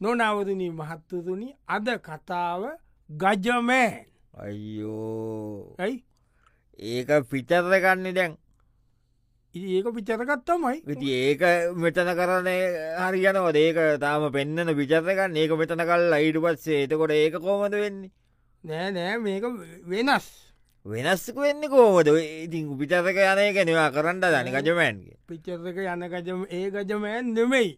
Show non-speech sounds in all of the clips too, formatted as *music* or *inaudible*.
නොනවදනී මහත්තතුනි අද කතාව ගජමෑන් අයියෝ ඇයි ඒක පිචර්රගන්න දැන් ඉතින් ඒක පිචරකත් තමයි විති ඒක මෙතන කරන හරියනවද ඒක තාම පෙන්න්නන විචර්රකන්න ඒක මෙතන කල් අයිඩු පස්සේ එතකොට ඒක කෝමද වෙන්නේ නෑ නෑ මේක වෙනස් වෙනස්ක වෙන්න කෝමද ඉතින් පිචර්ක යනය කැනවා කරන්න දන ගජමෑන්ගේ පිච්චරක යන ගජම ඒ ගජමෑන් නෙමෙයි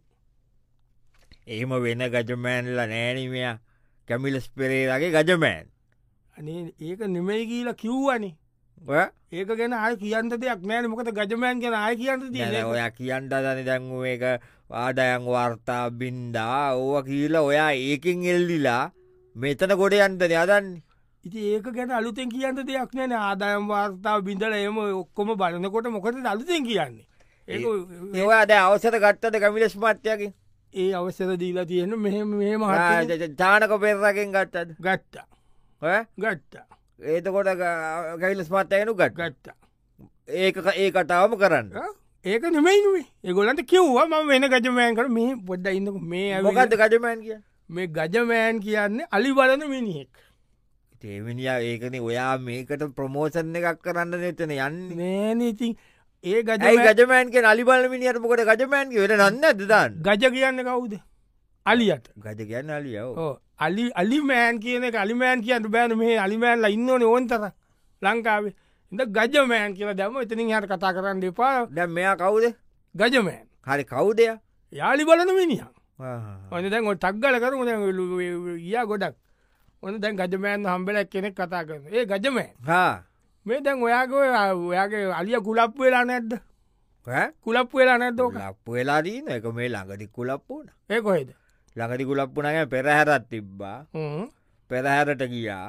ඒම වෙන ගජමෑන්ල නෑනමයා කැමිලස් පෙරේරගේ ගජමෑන් අනේ ඒක නෙමෙයි කියලා කිව්වනේ ඔය? ඒක ගැන ආය කියන්ත දෙයක් නෑන මොකද ගජමෑන් ගෙන ආය කියන්ට නැන තියෙන ඔයා කියන්ට දන දැන්ුව එක ආඩයන් වර්තා බින්දා ඕව කියලා ඔයා ඒකින් එල්ලිලා මෙතන ගොඩ යන්තන අදන්න ඉති ඒක ගැන අලුතෙන් කියන්ට දෙයක් නෑන ආදායම් වාර්තාව බිඳල එම ඔක්කොම බලනකොට මොකද අලුතෙන් කියන්නේ ඒ ඒවා අද අවසර ගත්තද කමිලස් මත්යකින් ඒ අවසර දීලා තියෙන මෙ මේ මහ චානක පෙරරකින් ගත්තද ගත්තා ඔය? ගත්තා ඒතකොට කැවිලස් මත්තයනු ගත් ගත්තා ඒක ඒ කතාවම කරන්න ආ? ඒක නෙමයිනුවේ ඒගොලන්ට කිව්වා ම වෙන ගජමෑන් කර මේ පොඩ්ඩ ඉන්නක මේ ඇවිල්ලා- මොකක්ද ගජමන් කිය මේ ගජමෑන් කියන්නේ අලි බලන මිනිහෙක් තේමිනිියා ඒකන ඔයා මේකට ප්‍රමෝසන් එකක් කරන්න නෙතන යන්න නෑන ඉතින් ඒ ඇයි ගජ ගජමෑන්ගේ නලිබලමිනිියට මොකට ගජමෑන්ගේ වෙන නන්න ඇදදාන්න ගජ කියන්න කවුද අලියට ගජ කියන්න අලියෝ ඕ, අලි අලිමෑන් කියන එක අලිමෑන් කියන්න බෑන මේ අලිමෑන්ල ඉන්නවන ඕන්තර ලංකාවේ ඉඳ ගජමෑන් කියලා දැම එතනින් හට කතා කරන්න එපා දැම් මෙයා කවුද ගජමෑන් හරි කවුදය යාලි බලන මිනිහ ඔන්න දැන් ඔ තක්ගල කරු ගිය ගොඩක් ඔන්න දැන් ගජමෑන් හම්බලක් කෙනෙක් කතා කරන ඒ ගජමෑන් හා මේ දැන් ඔයාගේ ඔයාගේ අලිය කුලප් වෙලා නැද්ද ඈ? කුලප් වෙලා නැද්දෝක ලප්පු වෙලාදීන එක මේ ළඟටි කුලප්පුන ඒ කොහෙද ළඟටි කුලප්පුනගේ පෙරහැරත් තිබ්බා හ්ම්. පෙරහැරට ගියා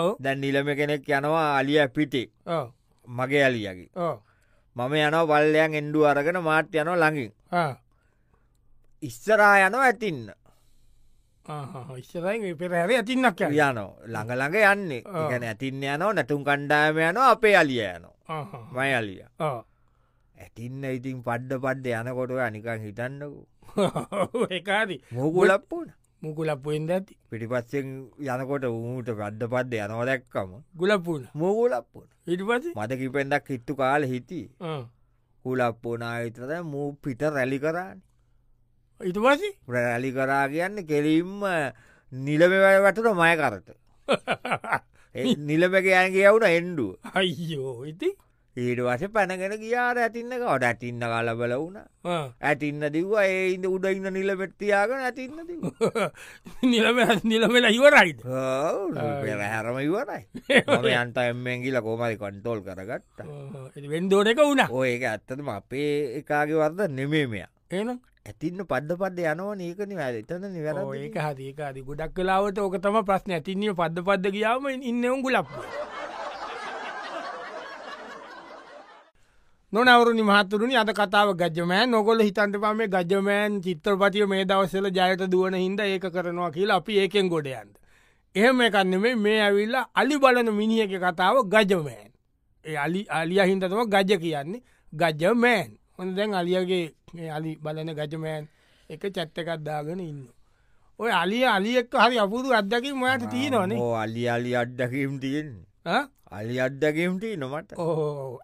ඔව් දැන් නිලම කෙනෙක් යනවා අලිය පිටේ ඔව් මගේ අලියගේ ඔව් මම යනව පල්ලයන් එන්ඩු අරගෙන මාට් යනවා ළඟින් ආ. ඉස්සරා යනවා ඇතින්න ආහා. ඉස්සරහින් ඒ පෙරහැර ඇතින්නක් යන යනෝ ළඟළඟ යන්නේ ඔව්. ගැන ඇතින්න යනෝ නැටුම් කණ්ඩායම යනවා අපේ අලිය යනවා මයි අලිය ඇතින්න ඉතින් පඩ්ඩ පඩ්ඩ යනකොට අනිකන් හිතන්නකු *laughs* එකදී මූගුලප්පුන මුකුලපුෙන්ද ඇති පිටිපස්සෙන් යනකොට ඌට ගඩ්ඩ පද්ද යනව දැක්කම ගුලපුන මූගුලප්පුන ඉට පස මත කිපෙන්ඩක් හිට්ටු කාල හිටි කුලප්පුනාවිතර මූ පිට රැලි කරන්න ඉට පසි රැලි කරා කියන්න කෙලින්ම නිලමවැය වටට මය කරට නිලමක යන් කියවුන එන්ඩුව *laughs* අයියෝ ඉති ඊට වස පැනගෙන කියාර ඇතින්න කවට ඇතින්න කලබල වුණ *laughs* ඇතින්න දිව්වා ඒඉද උඩ ඉන්න නිලපෙට්තියාගෙන ඇතින්න දිව *laughs* නිලම නිලමලා *laughs* ඉවරයිද පෙරහැරම ඉවරයි මම යන්ත එම්මෙන් කියල කෝමරි කොන්ටෝල් කරගත්ත වෙන්දෝන එක වුණා ඕ ඒක ඇත්තටම අපේ එකාගේ වර්ද නෙමේමයා එන ඇතින්න පද්ද පද්ද යනව නඒකන වැ එතන නිවැර ඒක හදකාද ගොඩක් කලාවට ඕක තම ප්‍රශ්න ඇතින්නේ පද්ද පද්ද කියාව ඉන්න උගු ලප්ප නොනවරුනි මහතුරුනි අද කතාව ගජමෑ නොගොල හිතන්ට පම ගජමෑන් චිත්‍රපතිය මේ දවසල ජයට දුවන හින්ද ඒක කරනවා කියලා අපි ඒකෙන් ගොඩයන්ට. එහෙම එකන්න මේ මේ ඇවිල්ලා අලි බලන මිනිියක කතාව ගජමෑන්. ඒ අලි අලිය හින්දතම ගජ කියන්නේ ගජමෑන් හොඳ දැන් අලියගේ මේ අලි බලන ගජමෑන් එක චැත්තකත්දාගෙන ඉන්න. ඔය අලිය අලියෙක් හරි අපුරු අදකින් මයට තියනවානේ ඕ අලි අලි අඩ්ඩකම් තියෙන් අලි අඩ්ඩකම්ටී නොමට ඕ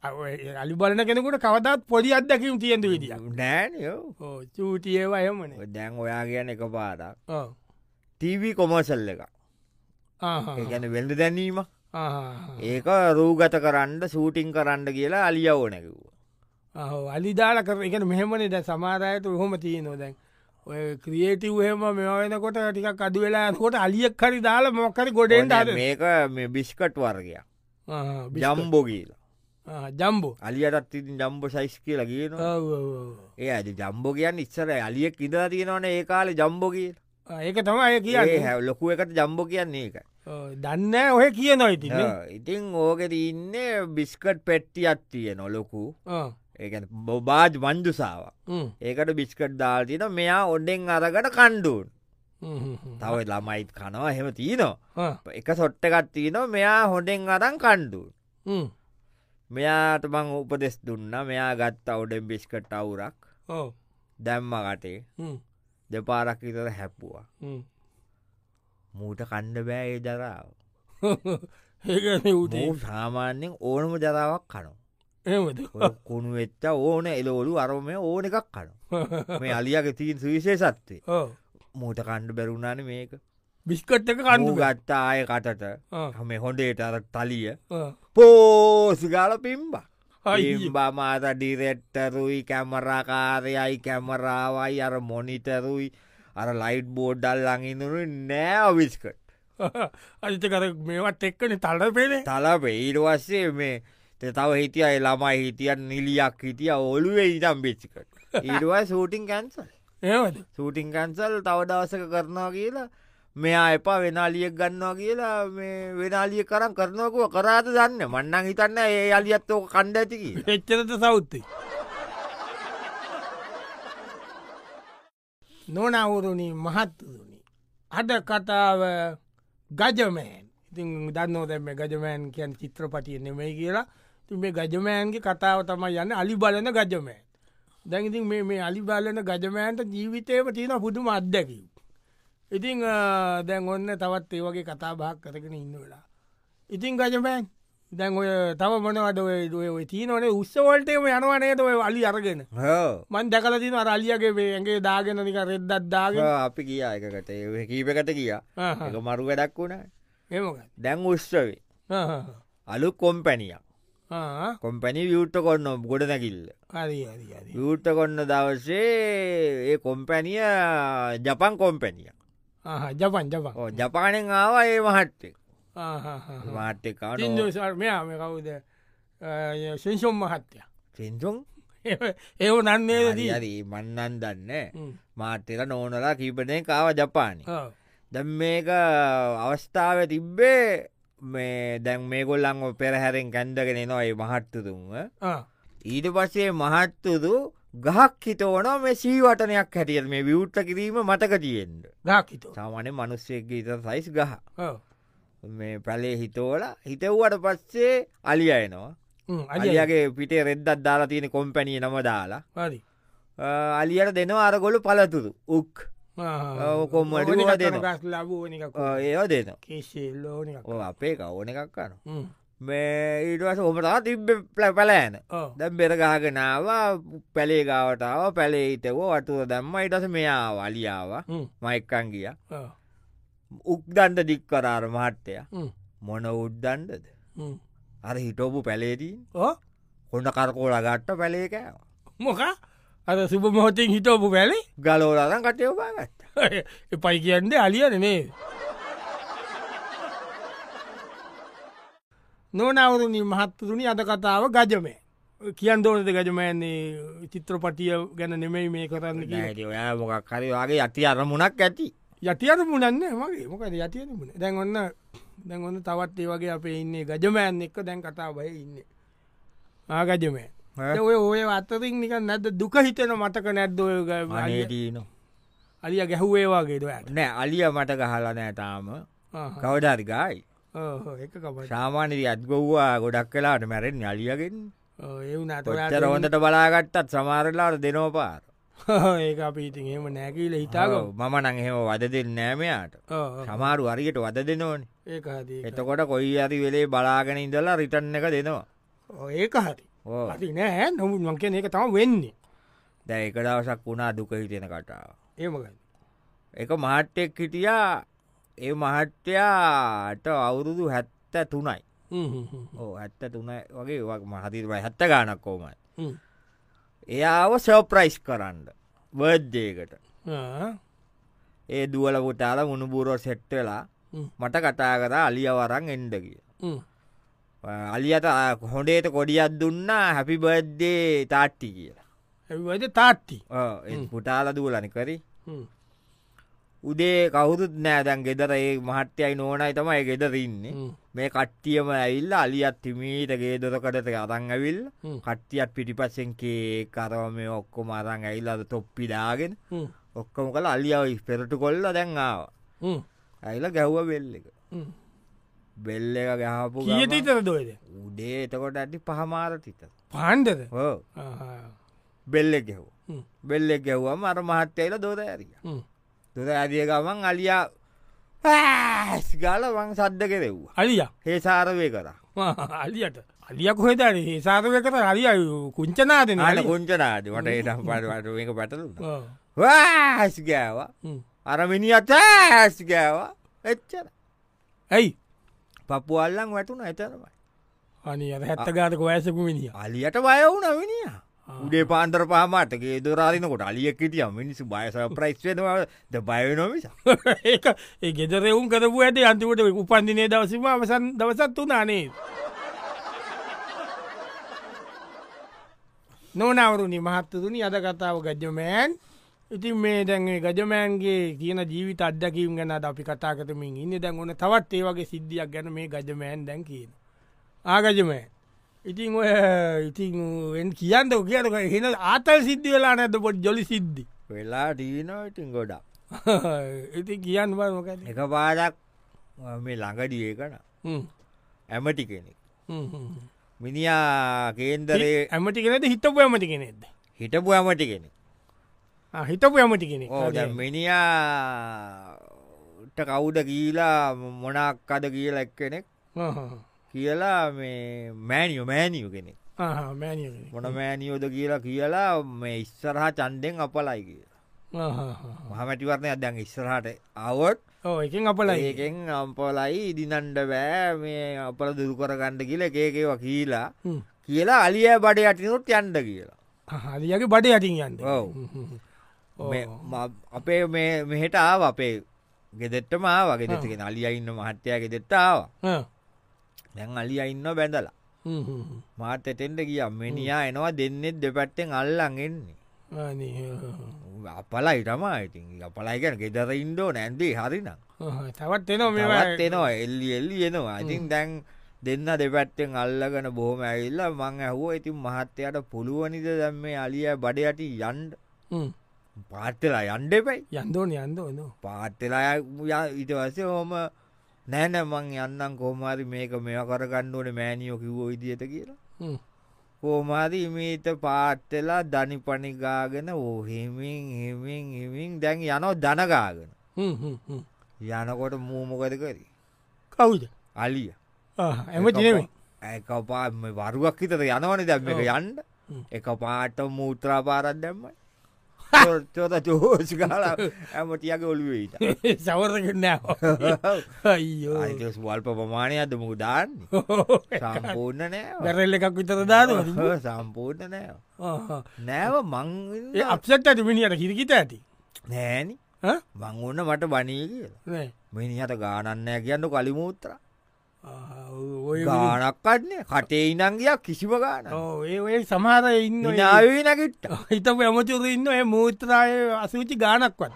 අලි බලන කෙනෙකුට කවතත් පොඩි අදකින් තියෙන්ද විදිිය. නෑනයෝ චූටියේවා එමන දැන් ඔයා කියන එක පාරක් ටීවී කොමර්සල් එක ගැන වෙල්ඩ දැනීම ඒක රූගත කරන්න සූටිං කරන්න කියලා අලිය ඕනැකිව අලිදාල කර එකන මෙහෙමනේ ද සමාරයට හොම තියනො දැන් ඔය ක්‍රියේටව් හෙම මෙවනකොට ටික අඩු වෙලා කොට අලියක් කරි දාලා මොකරි ගොඩෙන්ට අද මේක මේ බිස්කට් වර්ගය ජම්බෝ කියලා ජම්බෝ අලියටත් ඉතින් ජම්බ සයිස් කියලා කියනවා ඒ අද ජම්බෝ කියන්න ඉස්සර අලියෙක් ඉඳ තියෙනවන ඒ කාල ජම්බෝ කියල ඒක තමයි කිය හැ ලොකු එකට ජම්බෝ කියන්නේ ඒක දන්න ඔහ කිය නොයිති ආ, ඉතින් ඕකෙට ඉන්නේ බිස්කට් පෙට්ටියත් තියෙන ලොකු ඒ බොබාජ් වන්දුසාාව ඒකට බිස්කට් දාල්තින මෙයා ඔඩෙන් අරගට කණ්ඩුන් තවයි ළමයිත් කනවා හෙම තියනවා එක සොට්ටකත් තියන මෙයා හොඩෙන් අරන් කණ්ඩුන් මෙයාට මං උපදෙස් දුන්න මෙයා ගත් අවුඩෙන් බිස්කට් අවුරක් දැම්ම කටේ දෙපාරක් විතර හැප්පුවා මූට කණ්ඩ බෑ ඒ ජරාව *laughs* ඒ උටේ මූ සාමාන්‍යෙන් ඕනම ජරාවක් කනු එමද *laughs* කුණු වෙච්ච ඕන එලෝලු අරෝම ඕන එකක් කනු මේ අලියගේ තිීන් සවිශය සත්වේ මූට කණ්ඩ බැරුණාන මේක බිස්කට් එක කණු කණ්ඩු ගත්තා ආය කටට හම හොඩේට අර තලිය පෝසිගාල පිම්බා ඉම්බා මාත ඩිරෙට්ටරුයි කැමරාකාරයයි කැමරාවයි අර මොනිතරුයි අර ලයිට් බෝඩ්ඩල් ලඟිඳුරු නෑ අවිස්කට *laughs* අජිත කර මේවත් එක්කන තල පෙනේ තල පෙයිට වස්සේ මේ තේ තව හිටිය අය ළමයි හිටියන් නිලියක් හිටිය ඔලුවේ ඉටම් බිච්චිකට ඉඩුවයි සූටිං කැන්සල් ඒමද සූටිං කැන්සල් තව දවසක කරනවා කියලා මෙයා එපා වෙනලියක් ගන්නවා කියලා මේ වෙනලිය කරම් කරනකුව කරාත දන්න මන්නන් හිතන්න ඒ අලියත් ඕක කණ්ඩ ඇතිකී එච්චරත සෞත්තේ නොනවුරුණි මහත්තුරුණි අද කතාව ගජමෑන් ඉතින් දන්නෝ දැම ගජමෑන් කියන් චිත්‍රපටිය නෙමයි කියලා ති මේ ගජමෑන්ගේ කතාව තමයි යන්න අලි බලන ගජමෑන් දැඟඉතින් මේ මේ අලි බලන ගජමෑන්ට ජීවිතයම තියෙන පුදුම අත්දැකීම ඉතිං දැන් ඔන්න තවත් ඒ වගේ කතා බහක් කරගෙන ඉන්න වෙලා ඉතින් ගජමෑන් දැන් ඔය තව මොනවද ඔය ඔය තිීනවනේ උත්සවල්ටේම යනවනේද ඔය අලි අරගෙන මන් දැකල තින රල්ලියගේ වේගේ දාගෙන නික රෙද්දත් දාගෙන අපි කියා එකකට ඒ කීපකට කියා එක මරු වැඩක් වුණ එමකත් දැන් උෂ්්‍රවේ අලු කොම්පැනිය කොම්පැනි වියුට්ට කොන්න ගොඩ නැකිල්ල හරි යුට්ට කොන්න දවසේ ඒ කොම්පැනිය ජපන් කොම්පැනිය ජපන් ජපන් ඕ ජපානෙන් ආව ඒ මහට්ටෙක් මාට්‍යකාන සිින්දෝසර්මයාම කවුද ශිෂුම් මහත්තය සිින්තුන් ඒව නන්නේ දී හරි මන්නන් දන්න මාට්‍යක නෝනලා කීපනය කාව ජපානය දැම් මේක අවස්ථාව තිබ්බේ මේ දැන් මේ ගොල්ලං පෙරහැරෙන් කැන්ඩගෙන නොයි මහට්ටතුන්ව ඊට පස්සේ මහත්තුදු ගහක් හිතෝන මේ සීවටනයක් හැටියල් මේ විවෘත්ත කිරීම මතක තියෙන්ට ගාකිත සාමානය මනුස්සයක ඉත සයිස් ගහ මේ පැලේ හිතෝල හිතව්වට පස්සේ අලිය එනවා අජගේ අලියගේ පිටේ රෙද්දත් දාලා තියෙන කොම්පැනිය නම දාලා හරි අ, අලියට දෙනවා අරගොලු පලතුරු උක් ඔව්, කොම්ම අඩි ඕවා දෙනවා. ගස් ලබූනික ඒව දෙනවා කිසිල්ලෝනික ඔව්, අපේ කවන එකක් කන මේ ඊටවස හොමතා තිබ්බ පල පලෑන දැම් බෙරගහගෙනාව පැළේගාවටාව පැළේ හිතව වටුව දැම්ම ඉටස මෙයා වලියාව මයික්කන් ගිය උක්දන්ට දික්කරාර මහට්ටය මොන උද්දන්ටද අර හිටෝපු පැලේදී ඕ හොඩ කරකෝල ගට්ට පැලේකෑ මොක අද සුබ මොහොතින් හිතෝපු බැලේ ගලෝලදන් කටයෝපාගත්ත එපයි කියන්ද අලියන නේ නොනවරුණ මහත්තුරුණි අද කතාව ගජමය කියන් දෝනද ගජමයන්නේ චිත්‍රපටිය ගැන නෙමෙයි මේ කරන්න කිය ඔයා මොකක් කරවාගේ යති අරමුණක් ඇති යතියට මුණන්න මගේ මොකද යතියට මුණ දැන් ඔන්න දැන් ඔන්න තවත් ඒ වගේ අපේ ඉන්නේ ගජමයන් එක්ක දැන් කතා බය ඉන්න ආගජමය ඔය ඔය අත්තරින් නික නැද දුක හිතෙන මතක නැද්දෝය අනේදීන අලිය ගැහුවේ වගේ දොයට නෑ අලිය මට ගහලා නෑතාම කවඩර්ගයි එක කබට සාමානදී අත්ගොව්වා ගොඩක් කලාට මැරෙන් අලියගෙන් ඒවුනට පොච්චර *laughs* හොඳට බලාගත්තත් සමාරලාට දෙනෝපාර ඒක අපි ඉතින් එහෙම නැකීල හිතාග ඔව්, මම නං එහෙම වද දෙන්න නෑමයාට සමාරු වරියට වද දෙනවන ඒක හදී එතකොට කොයි අරි වෙලේ බලාගෙන ඉඳලා රිටන් එක දෙනවා ඒක හරි ඕ හරි නෑ නොමුත් මං කියන එක තම වෙන්නේ දැ එක දවසක් වුණා දුක හිතෙන කටාව ඒමකයි එක මහට්ටෙක් හිටියා ඒ මහට්ටයාට අවුරුදු හැත්ත තුනයි ඕ ඇත්ත තුන වගේ මහතිරයි හැත්ත ගානක් කෝමයි එයාව සෝප්‍රයිස් කරන්න බර්ද්දේකට ඒ දුවල පුටාල මුණුබූරෝ සෙට්ටලා හ්ම්. මට කතා කරා අලිය වරන් එන්ඩ කිය අලියට ආ, හොඩේට කොඩියත් දුන්නා හැපි බර්ද්දේ තාට්ටි කියලා ඇවිවද තාත්ති ඔව්, ඒ පුටාල දූලනිකරි හ්ම්. උදේ කවුරුත් නෑදැන් ගෙදර ඒ මහට්‍යයි නෝනයි තමයි ගෙදරන්නේ හ්ම්. මේ කට්ටියම ඇල්ල අලියත් තිමීට ගේදොරකටට අරං ඇවිල් හ්ම්. කට්ටියත් පිටිපස්සෙන් කේ කරම මේ ඔක්කොම අරං ඇවිල් අද තොප්පිදාගෙන හ්ම්. ඔක්කොම කළ අලියාව පෙරට කොල්ල දැන්ආාව හ්ම්. ඇයිල ගැව්ව බෙල්ල එක හ්ම්. බෙල්ල එක ගැහපු ගම කීයට ඉතර දොයද උඩේ එතකොට ඇටි පහමාර තිත පාන්්ඩද හෝ බෙල්ල ගැහෝ බෙල්ලෙක් ගැව්වම අර මහත්තයල දොර ඇරිය දොර ඇරිය ගමන් අලියා ගාල වං සද්ධ කෙරෙව්වා අලිය හේසාරවය කරා අලියට අලිය කොහෙදර සාධක කර අලිය කුංචනාදන අන කොංචනාද වටට පටට මේක පැටලු වාස් ගෑවා අරමිනි අත ඇස් ගෑවා එච්චර ඇයි පපු අල්ලං වැටුන එතරමයි අනි අද හැත්ත ගාතක වයසපු මිනිිය අලියට බය වුන මිනිිය උඩේ පාන්දර පහමටගේ දොරාරිනකොට අලියක් හිටිය මිනිසු බයස ප්‍රයිස්්වද බයනොමිසා ඒක ඒ ගෙදරෙවුම් කරපු ඇති අන්තිමට උපන්දිනේ දවසිම අවසන් දවසත් වනානේ නොනවරුණි මහත්තතුනි අද කතාව ගජමෑන් ඉතින් මේ දැන්ගේ ගජමෑන්ගේ කියන ජීවිත අදකීම් ගැන අද අපි කතා කරමින් ඉන්න දැන් ඕන තවත් ඒ වගේ සිද්ධියක් ගැන මේ ගජමෑන් දැන් කියන ආගජමෑ ඉතින් ඔය ඉතින් එන් කියන්න කියනක හෙන ආතල් සිද්ධි වෙලා නැත පොඩ් ජොලි සිද්ධි *laughs* වෙලා ටීනඉටින් ගොඩා ඉති කියන්න බලමොකද එක පාරක් මේ ළඟඩිය කන ඇමටි කෙනෙක් මිනිා කේන්දරේ ඇමටි කෙනෙද හිතපු ඇමටි කෙනෙද හිටපු ඇමටි කෙනෙක් හිතපු ඇමටි කෙනෙ ඕ මිනිියාට කවුඩ කියලා මොනක් අද කියලා එක් කෙනෙක් කියලා මේ මෑනිියෝ මෑනිියු කෙනෙක් මෑනිය මොන මෑනිියෝද කියලා කියලා මේ ඉස්සරහා චන්දෙන් අපලයි කියලා මහමැටිවරණය දැන් ඉස්සරහට අවට් ඕ එකින් අපල ඒකෙන් අම්පලයි ඉදිනන්ඩ බෑ මේ අපල දුරු කරගණ්ඩ කියල එකේකේවා කියලා කියලා අලිය බඩ යටිනුත් යන්ඩ කියලා හදිියගේ බඩ යටින් යන්න ඔව්. මේ ම- අපේ මේ මෙහෙට ආව අපේ ගෙදෙට්ටම වගේ දෙතිකෙන අලිය ඉන්න මහත්තයා ගෙදෙත්තාව දැන් අලිය ඉන්න බැඳලා මාත එතෙන්ට කිය මිනියා එනවා දෙන්නෙත් දෙපැත්තෙන් අල්ලන්ගෙන්නේ අපලයි තමා ඉතින් අපලයිගැන ගෙදර ඉන්ඩෝ නැන්දේ හරිනම් තවත් එනෝ මෙවත් එනවා එල්ලි එල්ලි එනවා ඉතින් දැන් දෙන්න දෙපැත්තෙන් අල්ලගෙන බොහොම ඇවිල්ලා මං ඇහුව ඉතින් මහත්තයට පුළුවනිද දැම් මේ අලිය බඩයට යන්ඩ මේ පාටලා යන්ඩෙපයි යන්දෝන යන්ද ඕනෝ පාටලා ඉටවසේ හොම නෑන මං යන්නම් කෝමාරි මේක මෙ කරගන්නඩුවන මෑනියෝ කිව්ෝ විදිහත කියලා කෝමාරි මේත පාට්ටලා දනි පනිගාගෙන ඕහෙමින් හෙමින් හෙමින් දැන් යනෝ දනගාගෙන යනකොට මූමකද කරි කවුද අලිය එම තිනෙමේ එකපා වරුවක් හිතට යනවන දැම්ම එක යන්ඩ හ්ම්. එක පාට මූත්‍රාපාරත් දැම්මයි චෝත චෝෂිකාල ඇමටියගේ ඔළුවේට සවරකන්න අයිෝ අයකස් වල්ප ප්‍රමාණයද මු දාන්නේ සම්පූර්ණ නෑ දැරල්ල එකක් විතර දානවා *laughs* සම්පූර්ණ නෑ ආහා. නෑව මං ඒ අපසට ඇති මිනිියට හිරිකිත ඇති නෑනි ඈ? මංගන්න මට බනී කියලා නෑ. මිනිහට ගානන්නෑ කියන්න කලිමූත්‍ර ආහා, ඔය ඔය මිනිහ- ගානක්කටන්නේ කටේ ඉනංගයක් කිසිම ගාන ඔව්, ඒ ඔය සමහර ඉන්න ඔය- නාවී නැකිට්ට හිතපු ඇමචුර ඉන්න ඔය මූත්‍රාය අසූචි ගානක්වත්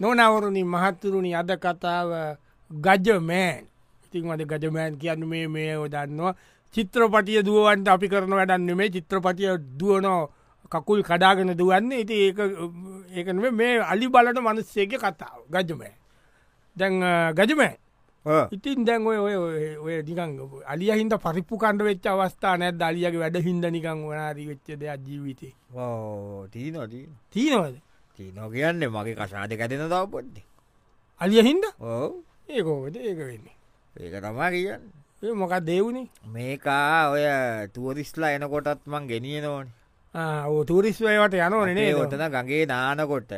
නොනවරුණි මහත්තුරුණි අද කතාව ගජමෑන් ඉතින් අද ගජමෑන් කියන්න මේ මේ දන්නවා චිත්‍රපටිය දුවන්ට අපි කරන වැඩන්න මේ චිත්‍රපටිය දුවනෝ කකුල් කඩාගෙන දුවන්නේ ඉති ඒක නෙමෙයි, මේ අලි බලට මනුස්සේක කතාව ගජමෑ දැන් ගජමෑ ඉතින් දැන් ඔය ඔය ඔය- ඔය නිකං අලිය හින්ද පරිප්පු කණ්ඩ වෙච්ච අවස්ථා නැත් අලියගේ වැඩ හින්ද නිකං වනාරී වෙච්ච දෙයක් ජීවිතේ තිීනොටී තියනවද තිීනෝ කියන්නේ මගේ කසාද කැතෙන තව පොඩ්ඩි අලිය හින්ද ඕ ඒකෝද ඒක වෙන්නේ ඒක තමා කියන්න ඒ මොකක් දෙවුණේ මේකා ඔය තුවරිස්ලා එනකොටත් මං ගෙනියනෝන ඕ තුරිස්වයට යනවනේ ඔතන ගගේ නානකොට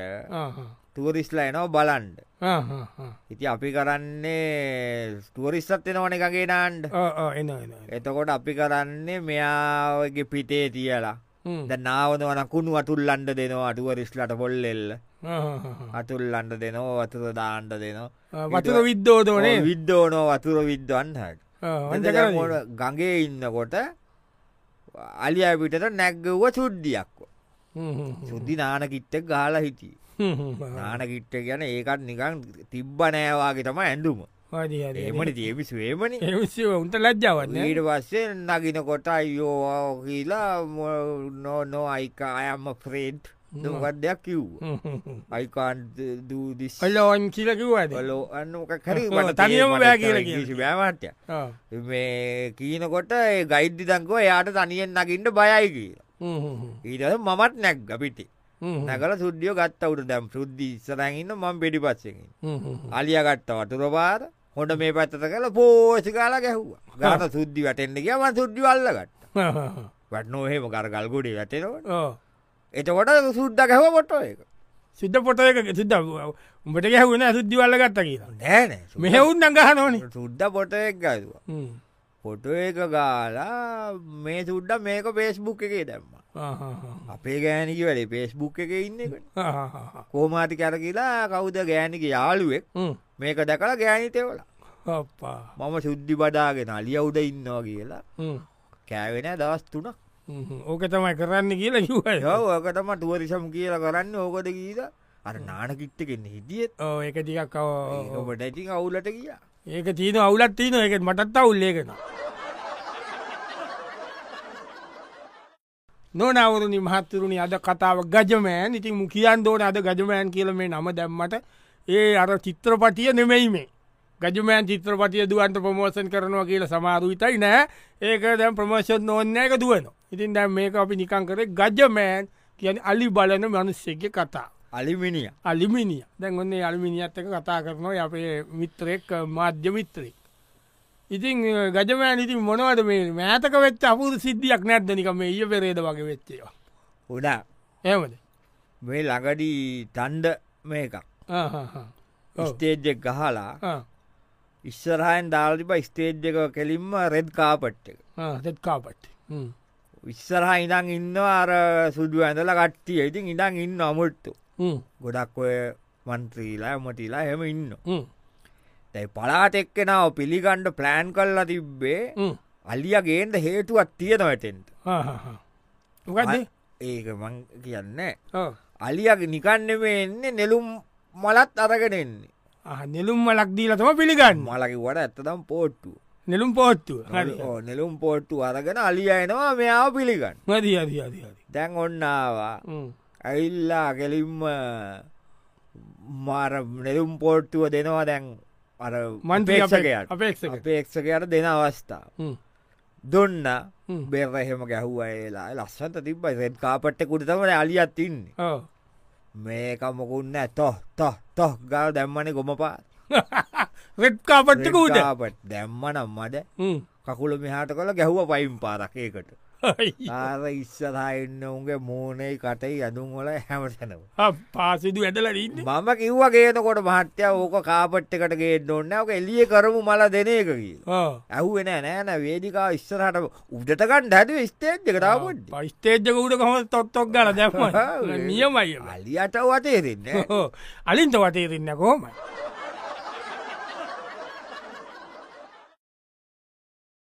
තුවරිස්ලා එනෝ බලන්ඩ ඉති අපි කරන්නේ තුවරිස්සත් එනවන එකගේ නාන්ඩ එන එන එතකොට අපි කරන්නේ මෙයාගේ පිටේ තියලා ද නාවන වනකුණු අතුල්ලන්ඩ දෙනවා අටුවරිස්ලට පොල්ලෙල්ල අතුල්ලන්ඩ දෙනෝ වතුර දාන්ඩ දෙනවා වතුර විද්දෝදෝනේ විද්ධෝනෝ වතුර විද්වන්හට වන්ජකර ගගේ ඉන්නකොට අලි අපිටට නැග්ගව සුද්ධියක්ව සුද්ධි නානකිට්ට ගාලා හිටිය නානකිට්ට ගැන ඒකත් නිකං තිබ්බ නෑවාගේ තම ඇඳුම එමට තියපිස් වේමනි එ උන්ට ලජ්ජාවන්නේ ඊට පස්සේ නගිනකොට අයෝවා කියලා නො- නෝ අයිකා අයම්ම ෆ්‍රේඩ් දොකත් දෙයක් කිව් අයිකාන් දදි ඔල්ලෝන් කියලකිවද ලෝ අන්නක කර තනියම බෑ කියලා කියන. බෑමට්ය මේ කියීනකොට ඒ ගයිද්දි තංකෝ එයාට තනියෙන් නකින්ට බයයි කියලා ඊට මමත් නැක් අපිටි නැකල සුද්ියෝ ගත්තවට දැම් සුද්ධි සරැඟන්න මං පිඩි පස්සකින් *laughs* අලියගත්ත වටුරපාර හොට මේ පත්තත කළ පෝෂි කාලා ගැහ්වා ගාට සුද්ධි වැටෙන්ට කියම සුද්ධි වල්ලගට වට නොහෙම කරගල්ගොඩි වැටෙනවට එතකොට සුද්ද ගැහව පොට්ටෝ එක සිද්ධ පොට එක සිද්ධ උඹට ගැහුණ සුද්ධිවල්ල ගත්ත කියලා නෑන මෙහෙවුන් අඟහන ඕනේ සුද්ද පොට එක් ගතුවා පොට එක ගාලා මේ සුද්ඩ මේක පේස්බුක් එකේ දැම්ම අපේ ගෑනික වැඩේ පේස්බුක් එක ඉන්නකට කෝමාටි කර කියලා කවුද ගෑනික යාළුවෙක් මේක දැකළ ගෑනිතෙවල අප්පා මම සුද්ධි බඩාගෙන අලිය උඩ ඉන්නවා කියලා කෑවෙන දවස් තුන හ්ම්. ඕක තමයි කරන්න කියලා කිව්වයි යෝකතම ටුවරිසම් කියලා කරන්න ඕකද කීද අර නානකිට්ටකෙන්න හිටියත් ඕ ඒක ටිකක් අව- ඔබට ඇති අවුලට කියා ඒක තිීන අවුලත් තියන එක මටත් අවුල්ලේගෙන නොනවරුණනි මහත්තුරුණි අද කතාව ගජමෑන් ඉතින් මු කියන් දෝන අද ගජමෑන් කියල මේ නම දැම්මට ඒ අර චිත්‍රපටිය නෙමෙයි මේ ගජමෑන් චිත්‍රපටිය දුවන්ට ප්‍රමෝසන් කරනවා කියල සමාරුවිතයි නෑ ඒක දැම් ප්‍රමෝෂන් ඕන්න එක දුවන ඉතින් දැම් මේක අපි නිකං කරේ ගජමෑන් කියන අලි බලන මනුස්සෙක්ගේ කතා අලිමිනිිය අලිමිනිිය දැන් ඔන්නේ අල්මිනිියත් එක කතා කරනවා අපේ මිත්‍රයෙක් මාධ්‍ය මිත්‍රෙක් ඉතින් අ, ගජමෑන් ඉතින් මොනවද මේ මෑතක වෙච්ච අපුරු සිද්ධියක් නැද්දනික මේ ඒ පෙරේද වගේ වෙච්චේවා හොඩා එමද මේ ලඟඩී තන්ඩ මේකක් ස්ටේජ්ජෙක් ගහලා ඉස්සරහයෙන් දාල්ලිබ ස්ටේජ් එක කෙලින්ම රෙද් කාපට් එක තෙත් කාපට්ටි ඉස්සරහා ඉඳං ඉන්න අර සුදු ඇඳල කට්ටිය ඉතින් ඉඩං ඉන්න අමුට්තු ගොඩක් ඔය මන්ත්‍රීලා ඇමටිලා හෙම ඉන්න තැයි පලාට එක්කෙනාව පිළිගණ්ඩ ප්ලෑන් කල්ලා තිබ්බේ අලියගේන්ට හේතුවත් තියෙනවටෙන්ට මොකද ඒක මං කියන්න අලියග නිකන්නෙම එන්නේ නෙලුම් මලත් අරගෙනෙන්නේ නෙලුම්ම ලක්දීල තම පිළිගන්න මලකිවට ඇත්තදම් පෝට්ටු නෙලුම් පෝත්තුව ඕ නෙලුම් පෝට්ටු අරගෙන අලියනවා මෙයාව පිළිගන්න මදී අදී අදී දැන් ඔන්නවා ඇවිල්ලා කෙලින්ම මාර නෙලුම් පෝට්ටුව දෙනවා දැන් අර පේක්ෂකයට අපේක්ෂක අපේක්ෂකයට දෙන අවස්ථාව දුන්න බෙර එහෙම ගැහුවලා ලස්සට තිබයි රෙඩ් කාපට්ට කුටතමට අලියත් ඉන්නේ ඕ මේක මොකුන්න තො තො තො ගල් දැම්මන ගොම පාට *laughs* රෙට් කාපට්ටක උද දැම්මනම් මට කකුල මෙහාට කළ ගැහුව පයිම් පාරකයකට ආර ඉස්සරහන්න උන්ගේ මූනේ කටයි අඳුන් වල හැමටනව පාසිදු ඇදල ඉන්න මම කිව්වා ගේනකොට මහත්‍ය ඕක කාපට්ටකට ගේට ඔන්න ඕක එලිය කරමු මල දෙන එක කියල ඇහුවෙන නෑන වේදිකා ඉස්සරහට උඩටකන් හැද ස්තේට් එකටාවට පයිස්තේජ්ක උට කොම තොත්තොක් ගල දැම නියමයි *laughs* අලියට වතේරන්න අලින්ත වටේරන්න කෝමයි